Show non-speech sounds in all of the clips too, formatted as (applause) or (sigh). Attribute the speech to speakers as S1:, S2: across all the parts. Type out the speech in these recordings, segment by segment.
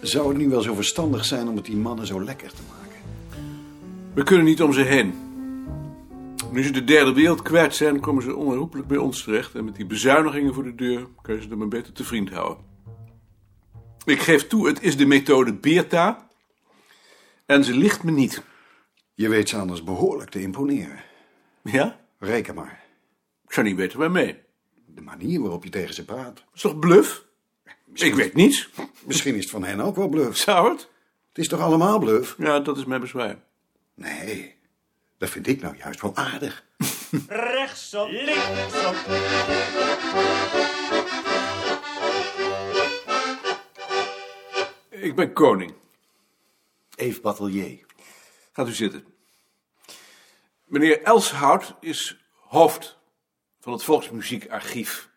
S1: Zou het niet wel zo verstandig zijn om het die mannen zo lekker te maken?
S2: We kunnen niet om ze heen. Nu ze de derde wereld kwijt zijn, komen ze onherroepelijk bij ons terecht. En met die bezuinigingen voor de deur kun je ze dan maar beter te vriend houden. Ik geef toe, het is de methode Beerta. En ze ligt me niet.
S1: Je weet ze anders behoorlijk te imponeren.
S2: Ja?
S1: Reken maar.
S2: Ik zou niet weten waarmee.
S1: De manier waarop je tegen ze praat.
S2: is toch bluf? Ik weet niets. (laughs)
S1: Misschien is het van hen ook wel bluff.
S2: Zou het?
S1: Het is toch allemaal bluff?
S2: Ja, dat is mijn bezwaar.
S1: Nee, dat vind ik nou juist wel aardig.
S3: rechtsom, linksom.
S2: Ik ben koning.
S4: Eve Batelier.
S2: Gaat u zitten. Meneer Elshout is hoofd van het Volksmuziekarchief.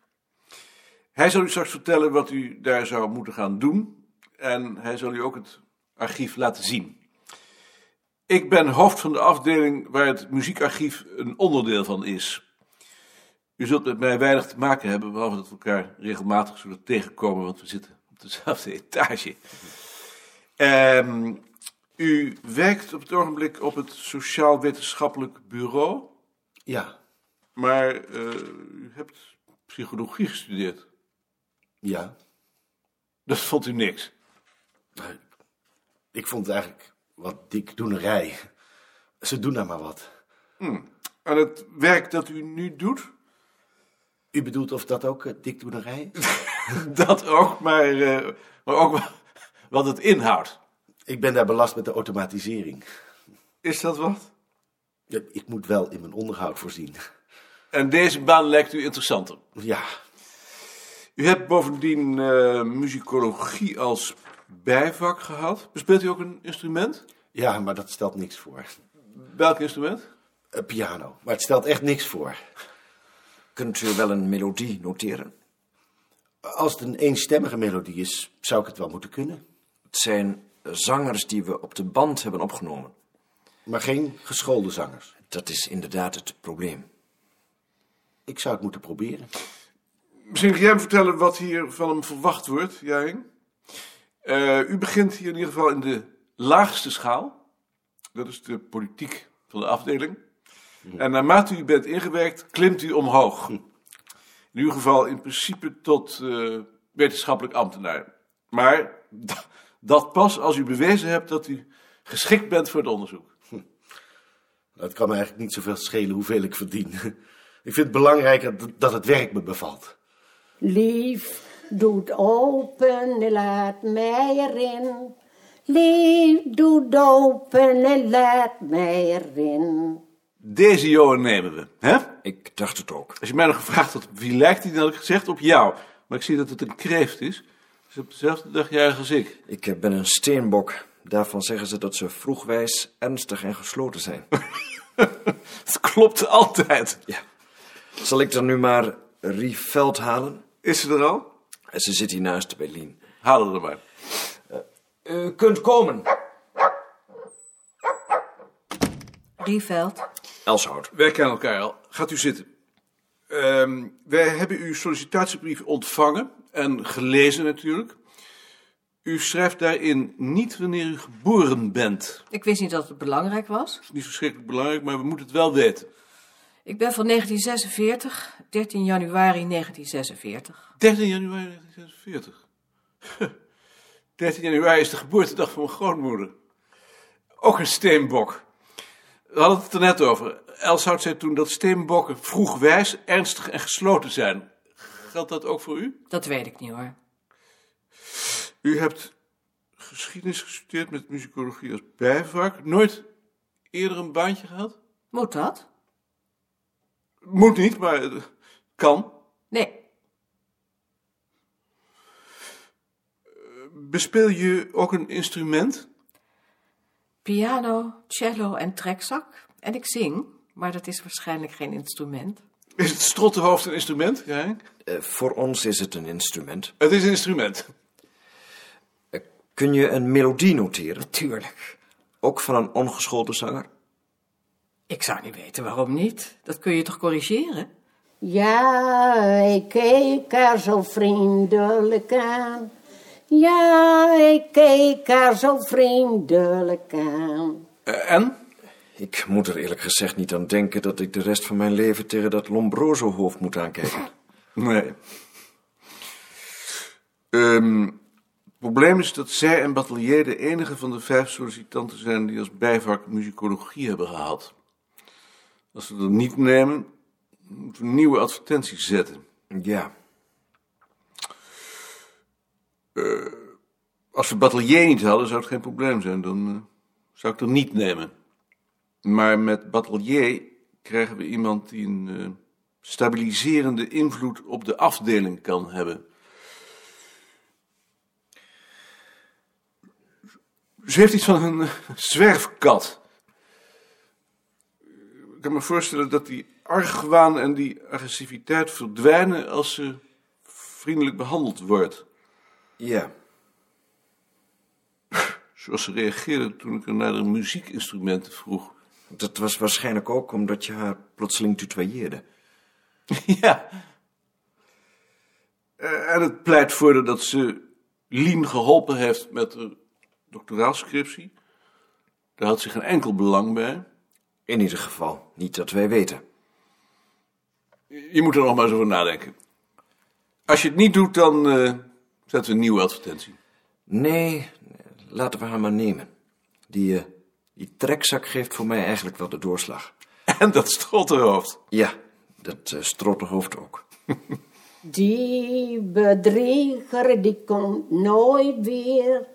S2: Hij zal u straks vertellen wat u daar zou moeten gaan doen. En hij zal u ook het archief laten zien. Ik ben hoofd van de afdeling waar het muziekarchief een onderdeel van is. U zult met mij weinig te maken hebben, behalve dat we elkaar regelmatig zullen tegenkomen, want we zitten op dezelfde etage. Ehm u werkt op het ogenblik op het Sociaal Wetenschappelijk Bureau,
S4: Ja,
S2: maar eh, u hebt psychologie gestudeerd.
S4: ja.
S2: Dat vond u niks.
S4: Maar ik vond het eigenlijk wat dikdoenerij. Ze doen daar maar wat.
S2: En het werk dat u nu doet,
S4: U bedoelt of dat ook eh, dikdoenerij is?
S2: (laughs) dat ook, maar, eh, maar ook (laughs) wat het inhoudt.
S4: ik ben daar belast met de automatisering.
S2: Is dat wat?
S4: Ja, Ik moet wel in mijn onderhoud voorzien.
S2: En deze baan lijkt u interessanter.
S4: Ja,
S2: U hebt bovendien eh, muzikologie als bijvak gehad. Bespeelt u ook een instrument?
S4: ja, maar dat stelt niks voor.
S2: Welk instrument?
S4: Eh, piano. Maar het stelt echt niks voor.
S3: Kunt u wel een melodie noteren?
S4: Als het een eenstemmige melodie is, zou ik het wel moeten kunnen.
S3: Het zijn zangers die we op de band hebben opgenomen.
S4: Maar geen geschoolde zangers.
S3: Dat is inderdaad het probleem.
S4: Ik zou het moeten proberen.
S2: Misschien kun jij me vertellen wat hier van hem verwacht wordt, Jaring. Eh, u begint hier in ieder geval in de laagste schaal. Dat is de politiek van de afdeling. En naarmate u bent ingewerkt, klimt u omhoog. In uw geval in principe tot eh, wetenschappelijk ambtenaar. Maar (laughs) d- dat pas als u bewezen hebt dat u geschikt bent voor het onderzoek.
S4: Nou, Het kan me eigenlijk niet zoveel schelen hoeveel ik verdien. Ik vind het belangrijker d- dat het werk me bevalt.
S5: Lief, doet open en laat mij erin. Lief, doet open en laat mij erin.
S2: Deze Johan nemen we, hè?
S3: Ik dacht het ook.
S2: Als je mij nog gevraagd had op wie lijkt hij, dan had ik gezegd op jou. Maar ik zie dat het een kreeft is. Dus op dezelfde dag jarig als ik. (laughs)
S3: Ik eh, ben een steenbok. Daarvan zeggen ze dat ze vroegwijs, ernstig en gesloten zijn.
S2: Het klopt altijd.
S3: Zal ik dan nu maar Rieveld halen?
S2: Is ze er al?
S3: Eh, Ze zit hier naast bij Lien.
S2: Haal haar er maar.
S3: U kunt komen.
S6: Rieveld.
S3: Elshout.
S2: Wij kennen elkaar al. Gaat u zitten. Ehm, wij hebben uw sollicitatiebrief ontvangen en gelezen natuurlijk. U schrijft daarin niet wanneer u geboren bent.
S6: Ik wist niet dat het belangrijk was.
S2: Dat is niet verschrikkelijk belangrijk, maar we moeten het wel weten.
S6: Ik ben van 1946, 13 januari 1946.
S2: 13 januari (laughs) 1946. 13 januari is de geboortedag van mijn grootmoeder. Ook een steenbok. We hadden het er net over. Elshout zei toen dat steenbokken vroegwijs, ernstig en gesloten zijn. Geldt dat ook voor u?
S6: Dat weet ik niet hoor.
S2: U hebt geschiedenis gestudeerd met muzikologie als bijvak. Nooit eerder een baantje gehad?
S6: Moet dat?
S2: Moet niet, maar eh, kan.
S6: Nee.
S2: Bespeel je ook een instrument?
S6: Piano, cello en trekzak. En ik zing, maar dat is waarschijnlijk geen instrument.
S2: Is het strottenhoofd een instrument? Ja, hè?
S3: Eh, voor ons is het een instrument.
S2: het is een instrument.
S3: Eh, kun je een melodie noteren?
S6: Tuurlijk.
S3: Ook van een ongeschoolde zanger?
S6: Ik zou niet weten waarom niet. Dat kun je toch corrigeren?
S5: Ja, ik keek haar zo vriendelijk aan. Ja, ik keek haar zo vriendelijk aan.
S2: Eh, en?
S3: Ik moet er eerlijk gezegd niet aan denken dat ik de rest van mijn leven tegen dat Lombroso-hoofd moet aankijken.
S2: Nee. Ehm, het probleem is dat zij en Batelier de enige van de vijf sollicitanten zijn die als bijvak muzikologie hebben gehad. Als ze dat niet nemen, moeten we een nieuwe advertentie zetten.
S3: Ja,
S2: Als we Batelier niet hadden, zou het geen probleem zijn. Dan eh, zou ik het niet nemen. Maar met Batelier krijgen we iemand die een eh, stabiliserende invloed op de afdeling kan hebben. Ze heeft iets van een eh, zwerfkat. Ik kan me voorstellen dat die argwaan en die agressiviteit verdwijnen als ze vriendelijk behandeld wordt.
S3: ja.
S2: Zoals ze reageerde toen ik haar naar de muziekinstrumenten vroeg.
S3: Dat was waarschijnlijk ook omdat je haar plotseling tutoyeerde.
S2: ja. Eh, En het pleit voor dat ze Lien geholpen heeft met de doctoraalscriptie. Daar had ze geen enkel belang bij.
S3: In ieder geval, niet dat wij weten.
S2: Je moet er nog maar eens over nadenken. Als je het niet doet, dan eh, zetten we een nieuwe advertentie. (laughs)
S3: Nee, laten we haar maar nemen. Die, eh, die trekzak geeft voor mij eigenlijk wel de doorslag.
S2: En dat strottenhoofd.
S3: Ja, dat uh, strottenhoofd ook.
S5: Die bedrieger die komt nooit weer.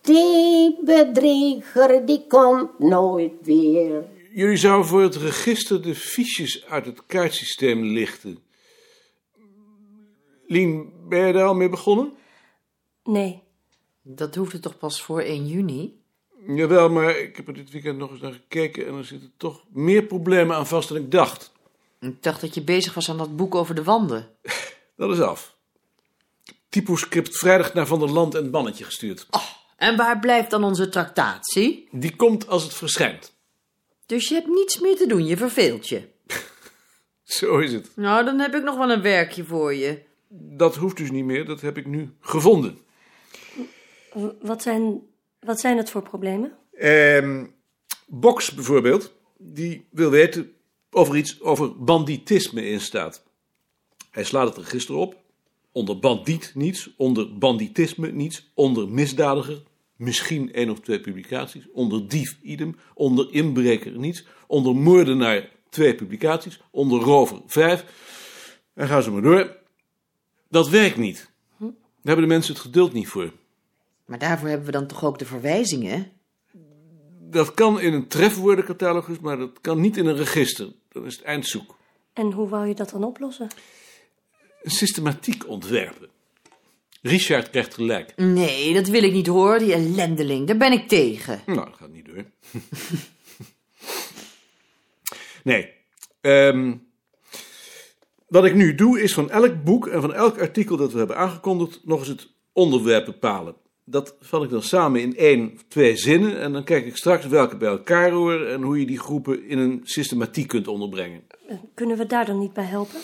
S5: Die bedrieger die komt nooit weer.
S2: Jullie zouden voor het register de fiches uit het kaartsysteem lichten. Lien, ben je daar al mee begonnen?
S7: Nee.
S8: Dat hoefde toch pas voor 1 juni?
S2: Jawel, maar ik heb er dit weekend nog eens naar gekeken en er zitten toch meer problemen aan vast dan ik dacht.
S8: Ik dacht dat je bezig was aan dat boek over de wanden.
S2: (laughs) Dat is af. Typoscript vrijdag naar Van der Land en het Bannetje gestuurd.
S8: Ah. En waar blijft dan onze tractatie?
S2: Die komt als het verschijnt.
S8: Dus je hebt niets meer te doen, je verveelt je.
S2: Zo is het.
S8: Nou, dan heb ik nog wel een werkje voor je.
S2: Dat hoeft dus niet meer, dat heb ik nu gevonden.
S7: W- Wat zijn, wat zijn het voor problemen?
S2: Ehm, Box bijvoorbeeld, die wil weten of er iets over banditisme in staat. Hij slaat het register op. Onder bandiet niets, onder banditisme niets, onder misdadiger misschien één of twee publicaties, onder dief idem, onder inbreker niets, onder moordenaar twee publicaties, onder rover vijf. En gaan ze maar door. Dat werkt niet. Daar hebben de mensen het geduld niet voor.
S8: Maar daarvoor hebben we dan toch ook de verwijzingen?
S2: Dat kan in een trefwoordencatalogus, maar dat kan niet in een register. Dan is het eindzoek.
S7: En hoe wou je dat dan oplossen?
S2: Een systematiek ontwerpen. Richard krijgt gelijk.
S8: Nee, dat wil ik niet horen, die ellendeling. Daar ben ik tegen.
S2: Nou, dat gaat niet door. (laughs) nee. Ehm, wat ik nu doe is van elk boek en van elk artikel dat we hebben aangekondigd nog eens het onderwerp bepalen. Dat vat ik dan samen in één of twee zinnen en dan kijk ik straks welke bij elkaar horen en hoe je die groepen in een systematiek kunt onderbrengen.
S7: Kunnen we daar dan niet bij helpen?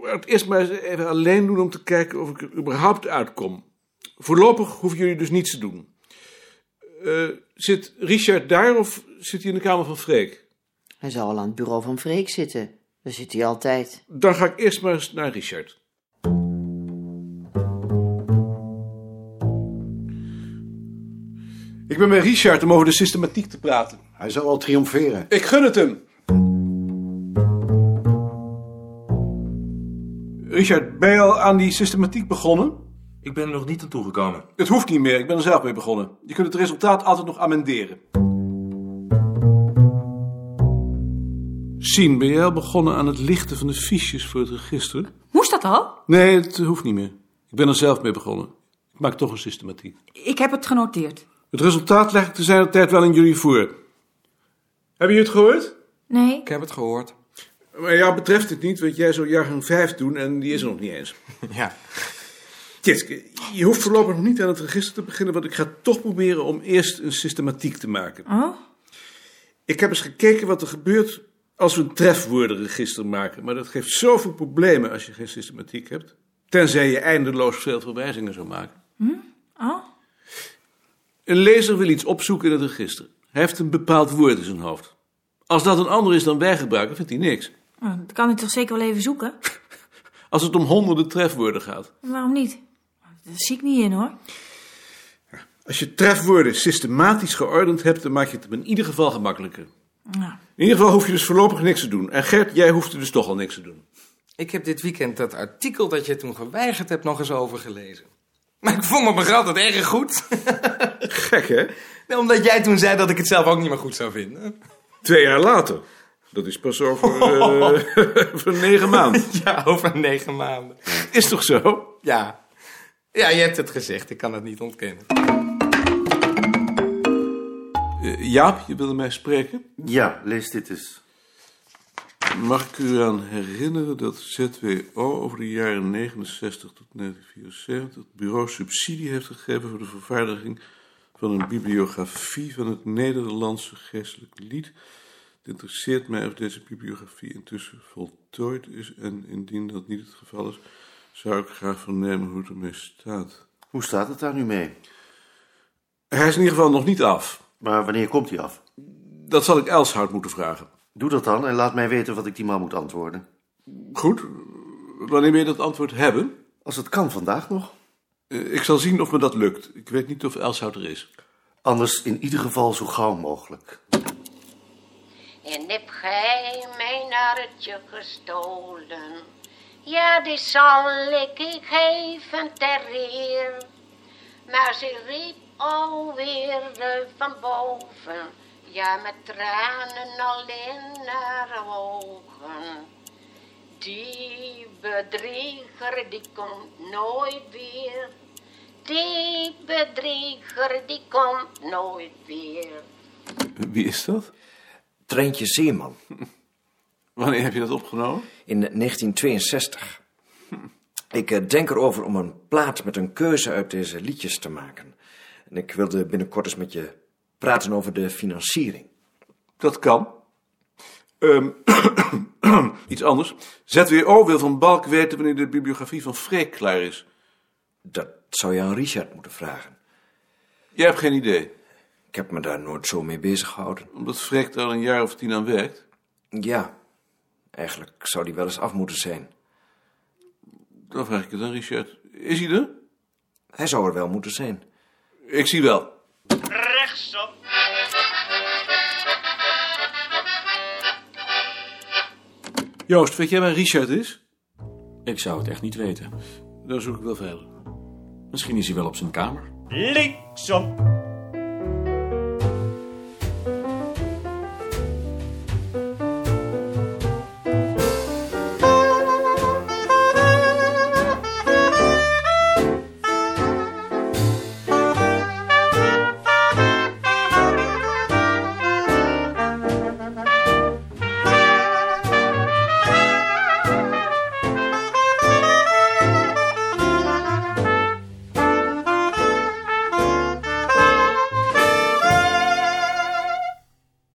S2: Maar het eerst maar eens even alleen doen om te kijken of ik er überhaupt uitkom. Voorlopig hoeven jullie dus niets te doen. Eh, zit Richard daar of zit hij in de kamer van Freek?
S8: Hij zal al aan het bureau van Freek zitten. Daar zit hij altijd.
S2: Dan ga ik eerst maar eens naar Richard. Ik ben bij Richard om over de systematiek te praten.
S1: Hij zal al triomferen.
S2: Ik gun het hem. Richard, ben je al aan die systematiek begonnen?
S9: Ik ben er nog niet aan toegekomen.
S2: Het hoeft niet meer, ik ben er zelf mee begonnen. Je kunt het resultaat altijd nog amenderen. Sien, ben jij al begonnen aan het lichten van de fiches voor het register?
S7: Moest dat al?
S2: Nee, het hoeft niet meer. Ik ben er zelf mee begonnen. Ik maak toch een systematiek.
S10: Ik heb het genoteerd.
S2: Het resultaat leg ik te zijn tijd wel aan jullie voor. Hebben jullie het gehoord?
S10: Nee.
S9: Ik heb het gehoord.
S2: Maar jou betreft het niet, want jij zou jaargang 5 doen en die is er nog niet eens.
S9: (laughs) Ja.
S2: Tjitske, je hoeft voorlopig nog niet aan het register te beginnen, want ik ga toch proberen om eerst een systematiek te maken.
S10: Oh?
S2: Ik heb eens gekeken wat er gebeurt als we een trefwoordenregister maken. Maar dat geeft zoveel problemen als je geen systematiek hebt. Tenzij je eindeloos veel verwijzingen zou maken.
S10: Oh,
S2: Een lezer wil iets opzoeken in het register. Hij heeft een bepaald woord in zijn hoofd. Als dat een ander is dan wij gebruiken, vindt hij niks.
S10: nou, dat kan ik toch zeker wel even zoeken?
S2: Als het om honderden trefwoorden gaat.
S10: Waarom niet? Daar zie ik niet in hoor.
S2: Als je trefwoorden systematisch geordend hebt, dan maak je het hem in ieder geval gemakkelijker.
S10: Nou,
S2: In ieder geval hoef je dus voorlopig niks te doen. En Gert, jij hoeft er dus toch al niks te doen.
S11: Ik heb dit weekend dat artikel dat je toen geweigerd hebt nog eens overgelezen. Maar ik vond het me altijd erg (laughs) goed.
S2: Gek, hè?
S11: Nee, Nou, Omdat jij toen zei dat ik het zelf ook niet meer goed zou vinden.
S2: Twee jaar later. Dat is pas (laughs) over, eh, (laughs) over negen maanden.
S11: Ja, over negen maanden.
S2: Is toch zo?
S11: Ja. Ja, je hebt het gezegd. Ik kan het niet ontkennen.
S2: Eh, Jaap, je wilde mij spreken.
S4: Ja, lees dit eens.
S2: Mag ik u aan herinneren dat ZWO over de jaren 69 tot 1974 het bureau subsidie heeft gegeven voor de vervaardiging van een bibliografie van het Nederlandse geestelijk lied. Het interesseert mij of deze bibliografie intussen voltooid is en indien dat niet het geval is, zou ik graag vernemen hoe het ermee staat.
S4: Hoe staat het daar nu mee?
S2: Hij is in ieder geval nog niet af.
S4: Maar wanneer komt die af?
S2: Dat zal ik Elshout moeten vragen.
S4: Doe dat dan en laat mij weten wat ik die man moet antwoorden.
S2: Goed, wanneer wil je dat antwoord hebben?
S4: Als het kan vandaag nog.
S2: Eh, Ik zal zien of me dat lukt. Ik weet niet of Elshout er is.
S4: Anders in ieder geval zo gauw mogelijk.
S5: En heb gij mijn hartje gestolen? Ja, die zal ik u geven ter eer. Maar ze riep alweer eh, van boven. Ja, met tranen al in haar ogen. Die bedrieger, die komt nooit weer. Die bedrieger, die komt nooit weer.
S2: Wie is dat?
S3: Trentje Zeeman
S2: Wanneer heb je dat opgenomen?
S3: in 1962. Ik eh, denk erover om een plaat met een keuze uit deze liedjes te maken. En ik wilde binnenkort eens met je praten over de financiering.
S2: Dat kan. Ehm, (clears throat) iets anders. ZWO wil van Balk weten wanneer de bibliografie van Freek klaar is.
S3: Dat zou je aan Richard moeten vragen.
S2: Jij hebt geen idee,
S3: Ik heb me daar nooit zo mee bezig gehouden.
S2: omdat Freek daar een jaar of tien aan werkt.
S3: Ja, eigenlijk zou die wel eens af moeten zijn.
S2: Dan vraag ik het aan Richard. Is hij er?
S3: Hij zou er wel moeten zijn.
S2: Ik zie wel.
S5: Rechtsop.
S2: Joost, weet jij waar Richard is?
S9: Ik zou het echt niet weten.
S2: Dan zoek ik wel verder.
S9: Misschien is hij wel op zijn kamer.
S12: Linksom,